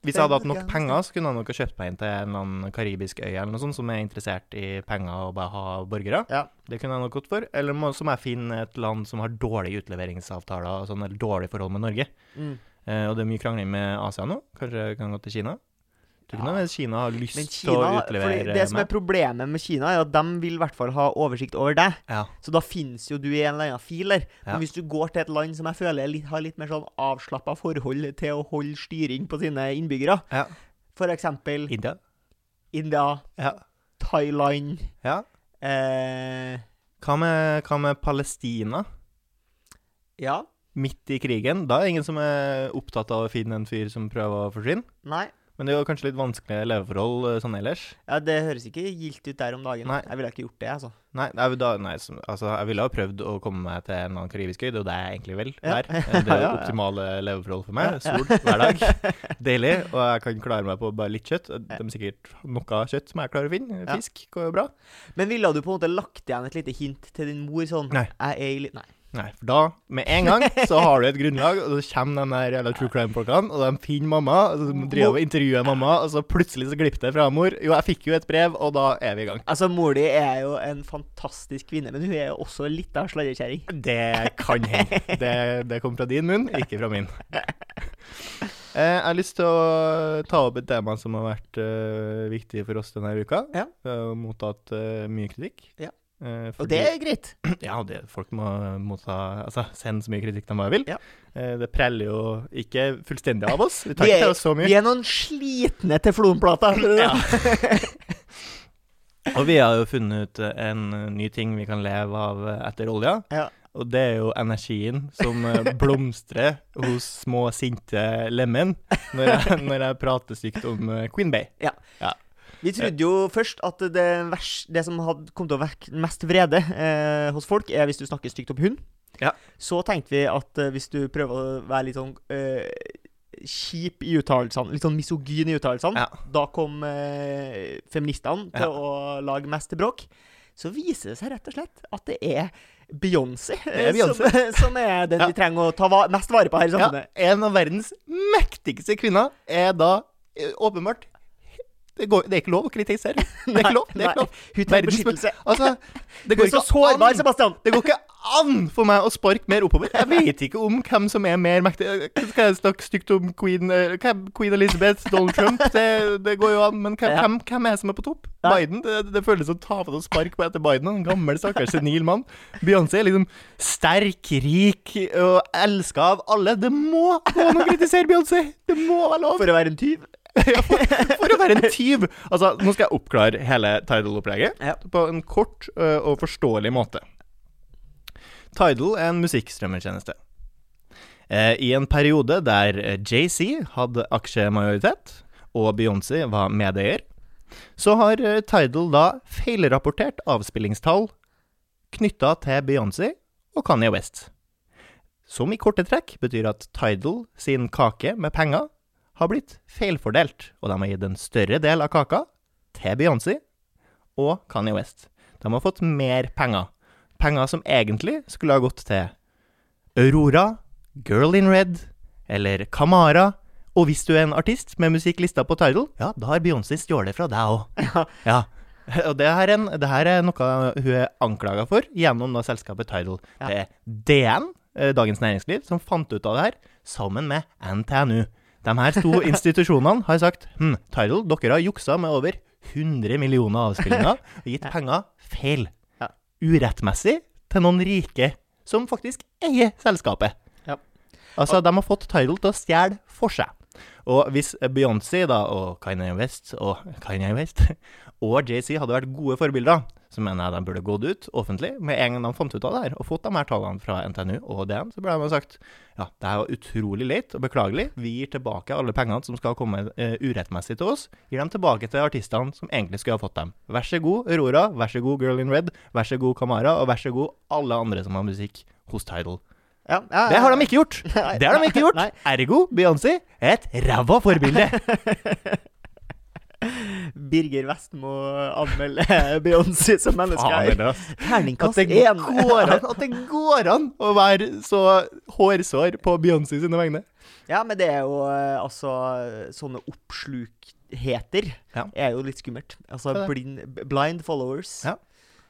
S1: Hvis jeg hadde hatt nok penger, så kunne jeg nok ha kjøpt meg inn til en eller annen karibisk øy eller noe sånt som er interessert i penger og bare ha borgere.
S2: Ja.
S1: Det kunne jeg nok gått for. Eller må, så må jeg finne et land som har dårlige utleveringsavtaler og sånn, eller dårlig forhold med Norge.
S2: Mm.
S1: Eh, og det er mye krangling med Asia nå. Kanskje jeg kan gå til Kina? Tror ikke
S2: Ja.
S1: noe med Kina har lyst
S2: Men
S1: til å
S2: Kina, fordi
S1: utlevere
S2: det som er problemet med Kina, er at de vil i hvert fall ha oversikt over deg.
S1: Ja.
S2: Så da finnes jo du i en eller annen fil der.
S1: Ja.
S2: Men hvis du går til et land som jeg føler er litt, har litt mer sånn avslappa forhold til å holde styring på sine innbyggere,
S1: Ja.
S2: f.eks.
S1: India?
S2: India,
S1: Ja.
S2: Thailand
S1: ja.
S2: eh,
S1: Hva med, hva med Palestina?
S2: Ja.
S1: Midt i krigen? Da er det ingen som er opptatt av å finne en fyr som prøver å forsvinne.
S2: Nei.
S1: Men det er jo kanskje litt vanskelige leveforhold eh, sånn ellers.
S2: Ja, Det høres ikke gildt ut der om dagen.
S1: Nei.
S2: Jeg ville ikke gjort det, altså.
S1: Nei, nei, men da, nei som, altså, jeg ville ha prøvd å komme meg til en eller annen karibisk øy. Det er jo det jeg egentlig vil
S2: Ja.
S1: der. Eh, Det er jo
S2: Ja, ja.
S1: optimale leveforhold for meg. Sol hver dag. Deilig. Og jeg kan klare meg på bare litt kjøtt. Det er sikkert noe kjøtt som jeg klarer å finne.
S2: Ja.
S1: Fisk går jo bra.
S2: Men ville du på en måte lagt igjen et lite hint til din mor sånn
S1: Nei.
S2: Jeg er i litt Nei.
S1: Nei, for da, med en gang, så har du et grunnlag, og så kommer de der jævla true crime-folkene, og de finner mamma, og så driver de og intervjuer mamma, og så plutselig så glipper det fra mor. Jo, jeg fikk jo et brev, og da er vi i gang.
S2: Altså, mor di er jo en fantastisk kvinne, men hun er jo også litt av sladrekjerring.
S1: Det kan hende. Det, det kom fra din munn, ikke fra min. Eh, Jeg har lyst til å ta opp et tema som har vært eh, viktig for oss denne uka.
S2: Ja.
S1: Vi har jo mottatt eh, mye kritikk.
S2: Ja.
S1: Eh,
S2: Og
S1: fordi-
S2: det er greit.
S1: Ja, det, folk må motta Altså, sende så mye kritikk de bare vil.
S2: Ja.
S1: Eh, Det preller jo ikke fullstendig av oss. Vi tar
S2: Vi
S1: ikke
S2: er,
S1: til oss så mye.
S2: vi er noen slitne teflonplater.
S1: Ja. Og vi har jo funnet ut eh, en eh, ny ting vi kan leve av eh, etter olja.
S2: Ja.
S1: Og det er jo energien som eh, blomstrer hos små, sinte lemen når jeg, når jeg prater stygt om eh, Queen Bay.
S2: Vi trodde jo først at det, vers, det som hadde kom til å vekke mest vrede eh, hos folk, er hvis du snakker stygt om hund.
S1: Ja.
S2: Så tenkte vi at eh, hvis du prøver å være litt sånn eh, kjip i uttalelsene, litt sånn misogyn i uttalelsene,
S1: Ja.
S2: da kom eh, feministene til
S1: Ja.
S2: å lage mest bråk. Så viser det seg rett og slett at det er Beyoncé,
S1: er
S2: eh, Som, som er den
S1: Ja.
S2: vi trenger å ta va mest vare på her i
S1: Ja,
S2: samfunnet.
S1: en av verdens mektigste kvinner er da eh, åpenbart det, går, det er ikke lov å kritisere. Det er ikke lov. Det er
S2: Nei,
S1: ikke lov.
S2: Hun trenger
S1: Verdens-
S2: beskyttelse.
S1: Altså, det
S2: Du
S1: går
S2: er
S1: ikke
S2: så sårbar, Sebastian.
S1: Det går ikke an for meg å sparke mer oppover. Jeg vet ikke om hvem som er mer mektig. Skal jeg snakke stygt om queen, eh, hvem- queen Elizabeth, Donald Trump? Det, det går jo an, men hvem,
S2: Ja.
S1: hvem, hvem er det som er på topp?
S2: Nei.
S1: Biden? Det, det føles som å ta på og spark på etter Biden. En gammel, stakkars senil mann. Beyoncé er liksom sterk, rik og elska av alle. Det må gå an å kritisere Beyoncé! Det må være lov!
S2: For å være en tyv.
S1: Ja, for, for å være en tyv! Altså, nå skal jeg oppklare hele Tidal-opplegget
S2: Ja.
S1: på en kort ø, og forståelig måte. Tidal er en musikkstrømmetjeneste. Eh, I en periode der eh, JC hadde aksjemajoritet, og Beyoncé var medeier, så har eh, Tidal da feilrapportert avspillingstall knytta til Beyoncé og Kanye West. Som i korte trekk betyr at Tidal sin kake med penger har blitt feilfordelt, og de har gitt en større del av kaka til Beyoncé og Kanye West. De har fått mer penger. Penger som egentlig skulle ha gått til Aurora, Girl in Red eller Kamara. Og hvis du er en artist med musikklista på Tidal, ja, da har Beyoncé stjålet det fra deg òg.
S2: Ja.
S1: Ja. Og det her, er en, det her er noe hun er anklaga for gjennom da selskapet Tidal.
S2: Ja.
S1: Det er DN, eh, Dagens Næringsliv, som fant ut av det her, sammen med NTNU. De her to institusjonene har sagt hm, Tidal, dere har juksa med over 100 millioner avspillinger og gitt penger feil.
S2: Ja.
S1: Urettmessig til noen rike som faktisk eier selskapet.
S2: Ja.
S1: Altså, de har fått Tidal til å stjele for seg. Og hvis Beyoncé da, og Kanye West og Kanye West og JC hadde vært gode forbilder, så mener jeg de burde gått ut offentlig med en gang de fant ut av det her, og fått de her tallene fra NTNU og DN. Så burde de ha sagt ja, det her var utrolig leit og beklagelig. Vi gir tilbake alle pengene som skal komme eh, urettmessig til oss. Gir dem tilbake til artistene som egentlig skulle ha fått dem. Vær så god, Aurora. Vær så god, Girl in Red. Vær så god, Kamara. Og vær så god, alle andre som har musikk hos Tidal.
S2: Ja, ja,
S1: Det har de ikke gjort!
S2: Nei.
S1: Det har de ikke gjort!
S2: Nei.
S1: Ergo Beyoncé er et ræva forbilde.
S2: Birger Vestmo anmelder Beyoncé som menneske.
S1: Faen,
S2: her.
S1: det er ass. At
S2: Terningkast
S1: det,
S2: én.
S1: går an, at det går an å være så hårsår på Beyoncé sine vegne.
S2: Ja, men det er jo eh, altså Sånne oppslukheter
S1: Ja.
S2: er jo litt skummelt. Altså
S1: Det er det.
S2: blind, b- blind followers.
S1: Ja.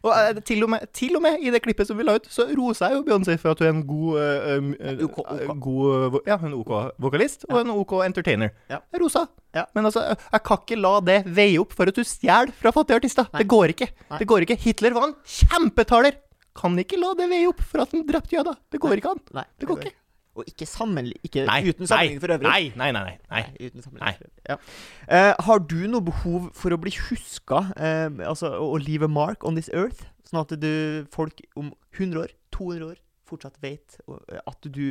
S1: Og eh, til og, med, til og med i det klippet som vi la ut, så rosa jeg jo Beyoncé for at hun er en god eh, um, eh,
S2: Ok, ok.
S1: eh, god, eh, vo- Ja, hun er OK vokalist og en OK entertainer.
S2: Ja.
S1: Jeg Rosa.
S2: Ja.
S1: Men altså, jeg- jeg kan ikke la det veie opp for at du stjeler fra fattige artister. Det går ikke.
S2: Nei.
S1: Det går ikke. Hitler var en kjempetaler. Kan ikke la det veie opp for at han drepte jøder. Det går ikke an.
S2: Nei,
S1: Det går ikke.
S2: Og ikke, sammenli ikke
S1: Nei,
S2: uten sammenligning for øvrig.
S1: Nei, nei, nei. nei, nei.
S2: Nei, Uten sammenligning
S1: Nei.
S2: for øvrig. Ja. Eh, har du noe behov for å bli huska eh, altså, å å leave a mark on this earth? Sånn at du, folk om 100 år, 200 år, fortsatt vet eh, at du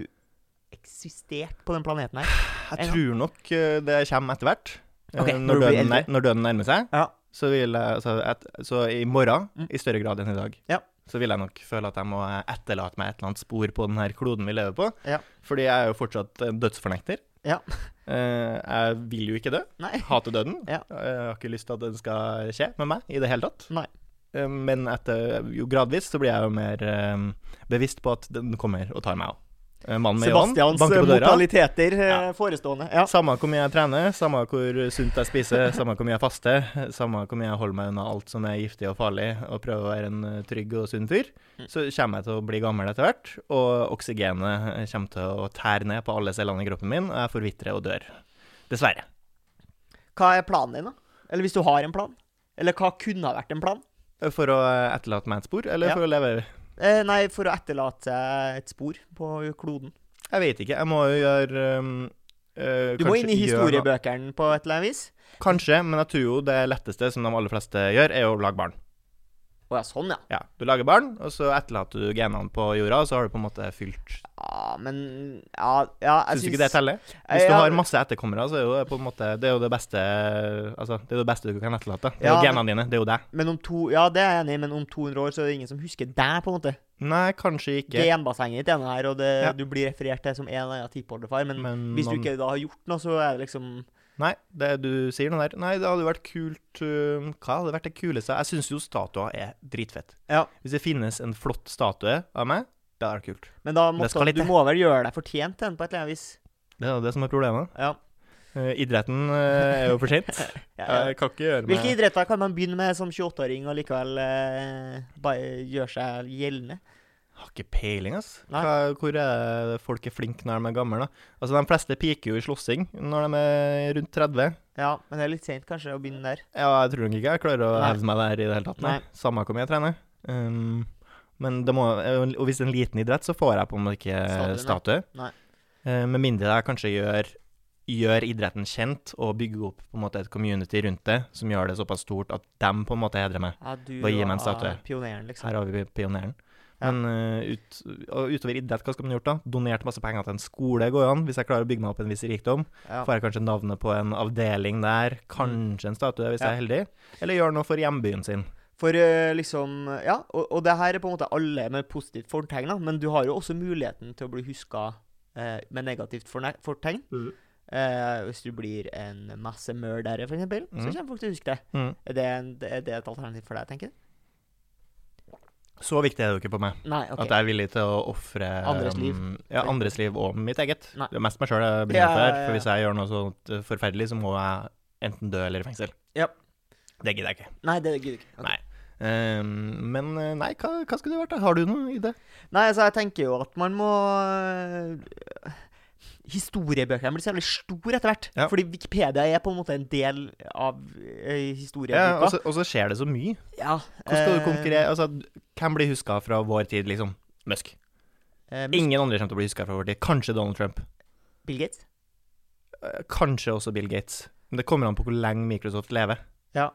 S2: eksisterte på den planeten her?
S1: Jeg
S2: En
S1: tror nok eh, det kommer etter hvert. Eh,
S2: Ok, når
S1: når,
S2: du blir
S1: døden,
S2: eldre.
S1: nær- når døden nærmer seg.
S2: Ja.
S1: Så, vil jeg, så, et, så i morgen,
S2: Mm.
S1: i større grad enn i dag,
S2: Ja.
S1: så vil jeg nok føle at jeg må etterlate meg et eller annet spor på denne kloden vi lever på.
S2: Ja.
S1: Fordi jeg er jo fortsatt en dødsfornekter.
S2: Ja.
S1: Eh, jeg vil jo ikke dø.
S2: Nei.
S1: Hater døden. Eh,
S2: Ja.
S1: Jeg har ikke lyst til at den skal skje med meg i det hele tatt.
S2: Nei.
S1: Eh, men etter, jo gradvis så blir jeg jo mer eh, bevisst på at den kommer og tar meg òg. Mannen med Johan
S2: Sebastians
S1: banker på døra.
S2: mortaliteter eh,
S1: Ja.
S2: forestående. Ja.
S1: Samme hvor mye jeg trener, samme hvor sunt jeg spiser, samme hvor mye jeg faster, samme hvor mye jeg holder meg unna alt som er giftig og farlig, og prøver å være en eh, trygg og sunn fyr,
S2: Mm.
S1: så kommer jeg til å bli gammel etter hvert. Og oksygenet eh, kommer til å tære ned på alle cellene i kroppen min, og jeg forvitrer og dør. Dessverre.
S2: Hva er planen din, da? Eller hvis du har en plan? Eller hva kunne ha vært en plan?
S1: For å eh, etterlate meg et spor, eller
S2: Ja.
S1: for å leve
S2: Eh, nei, for å etterlate seg et spor på kloden.
S1: Jeg vet ikke. Jeg må jo gjøre um, eh,
S2: Du må
S1: kanskje
S2: inn i
S1: gjøre noe-
S2: historiebøkene på et eller annet vis.
S1: Kanskje, men jeg tror jo det letteste som de aller fleste gjør, er å lage barn.
S2: Å ja, sånn, ja.
S1: Ja, Du lager barn, og så etterlater du genene på jorda, og så har du på en måte fylt
S2: Ja, men Ja, ja jeg
S1: Syns du ikke det teller? Hvis
S2: Jeg-
S1: du har masse etterkommere, så er jo det på en måte Det er jo det beste Altså, det er jo det beste du kan etterlate. Det er
S2: Ja,
S1: jo genene dine. Det er jo deg.
S2: Men om to Ja, det er jeg enig i, men om 200 år så er det ingen som husker deg, på en måte.
S1: Nei, kanskje ikke.
S2: Genbassenget ditt er nå her, og det,
S1: Ja.
S2: du blir referert til som en eller annen tippoldefar, men,
S1: Men
S2: hvis du
S1: man-
S2: ikke da har gjort noe, så er det liksom
S1: Nei, det du sier noe der. Nei, det hadde jo vært kult øh, Hva hadde vært det kuleste? Jeg syns jo statuer er dritfett.
S2: Ja.
S1: Hvis det finnes en flott statue av meg, det hadde vært kult.
S2: Men da
S1: Det
S2: måtte,
S1: skal litt
S2: du
S1: til.
S2: må vel gjøre deg fortjent til den på et eller annet vis.
S1: Det er jo det som er problemet.
S2: Ja.
S1: Eh, idretten eh, er jo for sent.
S2: ja, ja.
S1: Jeg kan ikke gjøre
S2: Hvilke
S1: meg
S2: idretter kan man begynne med som 28-åring og likevel eh, bare gjøre seg gjeldende?
S1: Har ikke peiling, ass.
S2: Nei.
S1: Hva, hvor er det folk er flinke når de er gamle, da? Altså, de fleste piker jo i slåssing når de er rundt 30.
S2: Ja, men det er litt seint kanskje å begynne der.
S1: Ja, jeg tror nok ikke jeg klarer å
S2: Nei.
S1: hevde meg der i det hele tatt. Nei.
S2: Nei.
S1: Samme hvor mye jeg trener. Um, men det må, og hvis det er en liten idrett, så får jeg på en måte ikke
S2: Statuen,
S1: statue.
S2: nei.
S1: Eh, med mindre jeg kanskje gjør, gjør idretten kjent, og bygger opp på en måte et community rundt det, som gjør det såpass stort at dem på en måte hedrer meg.
S2: Ja, du
S1: Bare gi meg en
S2: er
S1: statue.
S2: Pioneren, liksom.
S1: Her har vi pioneren.
S2: Ja.
S1: Men eh, ut, og utover idrett, hva skal man gjort da? Donert masse penger til en skole går an, hvis jeg klarer å bygge meg opp en viss rikdom.
S2: Ja.
S1: Får jeg kanskje navnet på en avdeling der, kanskje en statue hvis jeg er heldig. Eller gjør noe for hjembyen sin.
S2: For eh, liksom Ja, og, og det her er på en måte alle med positivt fortegn, da, men du har jo også muligheten til å bli huska eh, med negativt forne- fortegn.
S1: Mhm.
S2: Eh, hvis du blir en massemurder, for eksempel, så
S1: Mhm.
S2: kommer folk til å huske det.
S1: Mm.
S2: Er det, en, er det et alternativ for deg, tenker du?
S1: Så viktig er det jo ikke på meg.
S2: Nei, OK.
S1: At jeg er villig til å ofre
S2: Andres liv.
S1: um, Ja, andres liv og mitt eget.
S2: Nei.
S1: Det er mest meg sjøl jeg blir
S2: Ja,
S1: nødt til her.
S2: ja, ja.
S1: For hvis jeg gjør noe sånt eh, forferdelig, så må jeg enten dø eller i fengsel.
S2: Ja.
S1: Det gidder jeg ikke.
S2: Nei, det gidder jeg ikke. Ok.
S1: Nei. Um, men eh, nei, hva, hva skulle det vært? da? Har du noe i det?
S2: Nei, altså, jeg tenker jo at man må øh, Historiebøkene blir så jævlig store etter hvert.
S1: Ja.
S2: Fordi Wikipedia er på en måte en del av øh,
S1: Ja, og
S2: historieboka.
S1: så- og så skjer det så mye.
S2: Ja,
S1: Hvordan skal
S2: eh,
S1: du konkurrere? Altså, hvem blir huska fra vår tid, liksom? Musk.
S2: eh, Mus-
S1: Ingen andre kommer til å bli huska fra vår tid. Kanskje Donald Trump.
S2: Bill Gates?
S1: Eh, Kanskje også Bill Gates. Men det kommer an på hvor lenge Microsoft lever.
S2: Ja.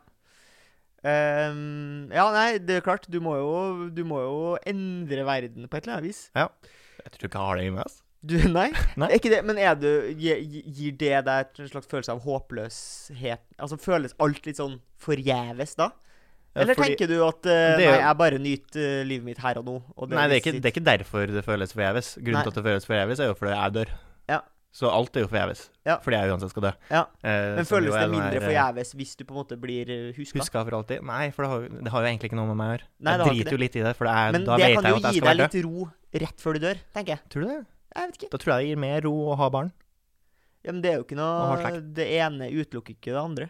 S2: Ehm, ja, nei, det er klart. Du må, jo, du må jo endre verden på et eller annet vis.
S1: Jeg tror ikke jeg har det i meg. ass.
S2: Du, nei?
S1: Nei.
S2: Er ikke det, men er du, gi- gi- gir det deg en slags følelse av håpløshet? Altså Føles alt litt sånn forgjeves da?
S1: Ja,
S2: Eller
S1: fordi-
S2: tenker du at eh,
S1: det er
S2: nei,
S1: jo-
S2: jeg bare nyter eh, livet mitt her og nå? Og
S1: Nei, det er, ikke, det er ikke derfor det føles forgjeves. Grunnen
S2: Nei.
S1: til at det føles forgjeves, er jo fordi jeg dør.
S2: Ja.
S1: Så alt er jo forgjeves.
S2: Ja.
S1: Fordi jeg uansett skal dø.
S2: Ja.
S1: Eh,
S2: Men
S1: som jo er
S2: føles det
S1: den
S2: mindre
S1: her, eh,
S2: forgjeves hvis du på en måte blir eh, huska?
S1: Huska for alltid? Nei, for det har, jo- det har jo egentlig ikke noe med meg å gjøre.
S2: Nei, det
S1: jeg
S2: har ikke
S1: driter jo litt i det, for det er, da
S2: Men det
S1: vet jeg
S2: kan
S1: jo
S2: jo
S1: at jeg
S2: gi
S1: skal
S2: deg
S1: være død.
S2: litt ro rett før du dør, tenker jeg.
S1: Tror du det?
S2: Jeg vet ikke.
S1: Da tror jeg det gir mer ro å ha barn.
S2: Ja, men det er jo ikke
S1: Og har
S2: noe
S1: slekt.
S2: Det ene utelukker ikke det andre.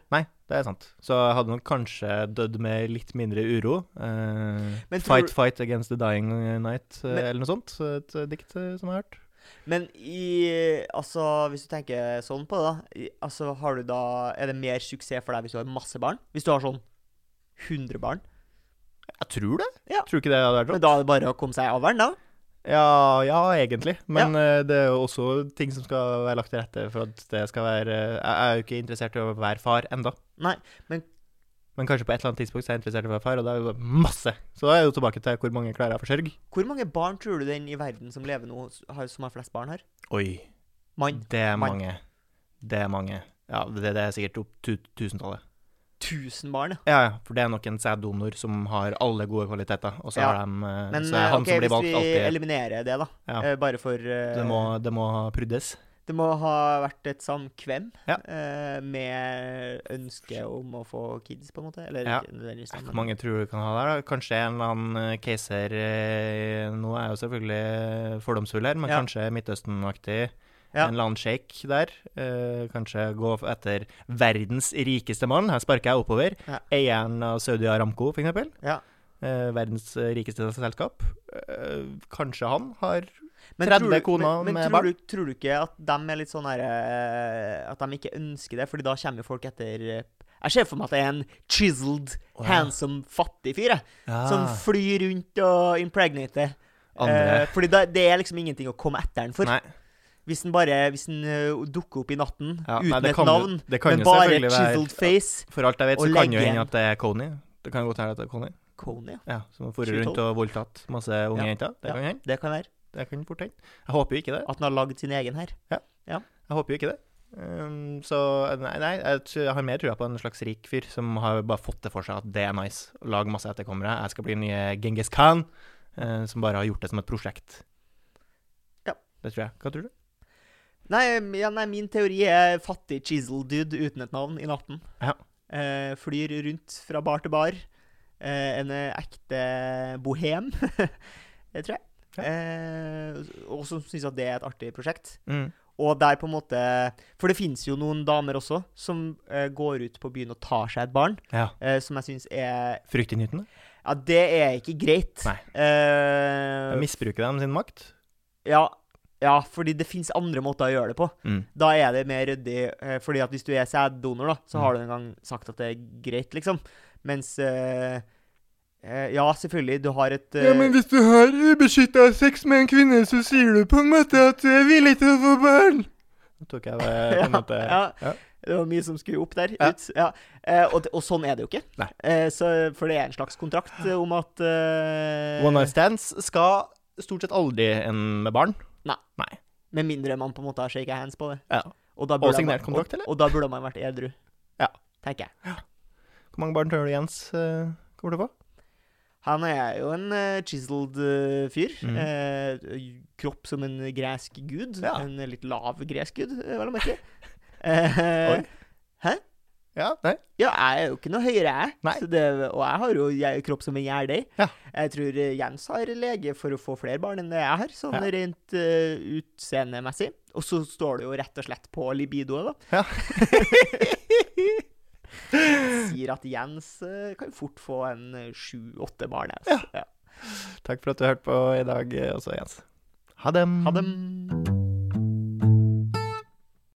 S1: Det er sant. Så jeg hadde nok kanskje dødd med litt mindre uro. Eh,
S2: Men tror-
S1: fight, fight against the dying night, eh,
S2: Men-
S1: eller noe sånt. Et eh, dikt eh, som jeg har hørt.
S2: Men i Altså, hvis du tenker sånn på det, da. i- Altså, har du da Er det mer suksess for deg hvis du har masse barn? Hvis du har sånn 100 barn?
S1: Jeg tror det.
S2: Ja.
S1: Tror ikke det hadde vært rått.
S2: Men da er det bare å komme seg i avlen, da?
S1: Ja, ja, egentlig. Men eh, det er jo også ting som skal være lagt til rette for at det skal være eh, Jeg er jo ikke interessert i å være far enda.
S2: Nei, men-
S1: Men kanskje på et eller annet tidspunkt så er jeg interessert i å være far, og da er det jo masse. Så da er jeg jo tilbake til hvor mange klarer jeg å forsørge.
S2: Hvor mange barn tror du den i verden som lever nå, s- har, som har flest barn, har?
S1: Oi.
S2: Mann.
S1: Det er
S2: Mann.
S1: mange. Det er mange. Ja, det, det er sikkert opp tu tusentallet.
S2: 1000 barn, ja.
S1: Ja, ja, for det er nok en sæddonor som har alle gode kvaliteter, og så
S2: Ja.
S1: har de eh,
S2: Men
S1: Så er
S2: eh,
S1: han
S2: ok,
S1: som blir
S2: hvis
S1: valgt,
S2: vi
S1: alltid
S2: eliminerer det, da.
S1: Ja.
S2: eh, bare for eh,
S1: Det må, det må pruddes.
S2: det må ha vært et samkvem
S1: Ja.
S2: eh, med ønske om å få kids, på en måte. Eller
S1: Ja.
S2: ikke nødvendigvis.
S1: Ja,
S2: men-
S1: Hvor mange tror du kan ha der? da? Kanskje en eller annen eh, keiser eh, Nå er jeg jo selvfølgelig eh, fordomsfull her, men
S2: Ja.
S1: kanskje Midtøsten-aktig.
S2: Ja.
S1: En eller annen sjeik der. Eh, kanskje gå f- etter verdens rikeste mann. Her sparker jeg oppover.
S2: Ja.
S1: Eieren av Saudi Aramco, for eksempel.
S2: Ja.
S1: Eh, verdens eh, rikeste selskap. Eh, kanskje han har 30
S2: tror du-
S1: koner
S2: men, men
S1: med
S2: tror
S1: barn.
S2: Du, tror du ikke at de er litt sånn her eh, At de ikke ønsker det? Fordi da kommer jo folk etter eh, Jeg ser for meg at det er en chiseled,
S1: Å, ja.
S2: handsome, fattig fyr jeg, som
S1: Ah,
S2: flyr rundt og impregnater.
S1: andre
S2: Eh, fordi da, det er liksom ingenting å komme etter han for.
S1: Nei,
S2: Hvis han bare hvis han, eh, dukker opp i natten
S1: ja,
S2: uten
S1: nei, det
S2: et
S1: kan jo-
S2: navn,
S1: det kan
S2: men
S1: jo
S2: bare
S1: selvfølgelig være-
S2: chiseled face
S1: For alt jeg vet,
S2: og
S1: så kan jo
S2: legge
S1: hende
S2: igjen.
S1: at det er Kony. Det kan jo godt hende at det er Kony.
S2: Kony, ja.
S1: Ja, som har vært
S2: Skyt
S1: rundt og voldtatt masse unge
S2: Ja.
S1: jenter. Det
S2: Ja.
S1: kan hende.
S2: Det kan være.
S1: Det kan fort hende. Jeg håper jo ikke det.
S2: At han har lagd sin egen her.
S1: Jeg håper jo ikke det. Ehm, så nei, nei jeg, tror, jeg har mer trua på en slags rik fyr som har bare fått det for seg at det er nice. Å lage masse etterkommere. Jeg skal bli den nye Genghis Khan, eh, som bare har gjort det som et prosjekt.
S2: Ja.
S1: Det tror jeg. Hva tror du?
S2: Nei, m- ja, nei, min teori er fattig chisel dude uten et navn i natten.
S1: Ja.
S2: Eh, flyr rundt fra bar til bar. Eh, en eh, ekte bohem, det tror jeg.
S1: Ja.
S2: Eh, og som syns at det er et artig prosjekt.
S1: Mm.
S2: Og der på en måte For det fins jo noen damer også som eh, går ut på byen og tar seg et barn,
S1: Ja.
S2: eh, som jeg syns er
S1: Fryktinngytende.
S2: Ja, det er ikke greit.
S1: Nei.
S2: Eh,
S1: Misbruker de sin makt?
S2: ja, ja, fordi det fins andre måter å gjøre det på.
S1: Mm.
S2: Da er det mer ryddig, eh, fordi at hvis du er sæddonor, da, så
S1: Mm.
S2: har du en gang sagt at det er greit, liksom. Mens eh, eh, Ja, selvfølgelig, du har et eh,
S1: hvis du har ubeskytta sex med en kvinne, så sier du på en måte at du er villig til å få barn. Nå tok jeg det på en måte
S2: ja,
S1: ja.
S2: Det var mye som skulle opp der.
S1: Ja.
S2: Ut, ja. Eh, og, det- og sånn er det jo ikke.
S1: Nei.
S2: Eh, så, for det er en slags kontrakt eh, om at eh,
S1: One night stands skal stort sett aldri ende med barn.
S2: Med mindre man på en måte har shaka hands på det.
S1: Ja.
S2: Og, da
S1: Og
S2: burde
S1: signert
S2: man-
S1: kontrakt,
S2: og,
S1: eller?
S2: og da burde man vært edru.
S1: Ja.
S2: Tenker jeg.
S1: Hvor mange barn tror du Jens eh, kommer til å få?
S2: Han er jo en eh, chiseled eh, fyr.
S1: Mhm.
S2: Eh, kropp som en gresk gud.
S1: Ja.
S2: En litt lav gresk gud, eh, vel å merke. Eh,
S1: Oi. Ja, nei.
S2: ja, jeg er jo ikke noe høyere, jeg.
S1: Nei.
S2: Så det, og jeg har jo jeg, kropp som en gjærdeig.
S1: Ja.
S2: Jeg tror eh, Jens har lege for å få flere barn enn det jeg har, sånn
S1: Ja.
S2: rent eh, utseendemessig. Og så står det jo rett og slett på libidoet, da.
S1: Ja.
S2: Sier at Jens eh, kan fort få en eh, sju-åtte barn. jeg,
S1: Ja.
S2: Altså. Ja.
S1: Takk for at du hørte på i dag eh, også, Jens. Ha dem.
S2: Ha det.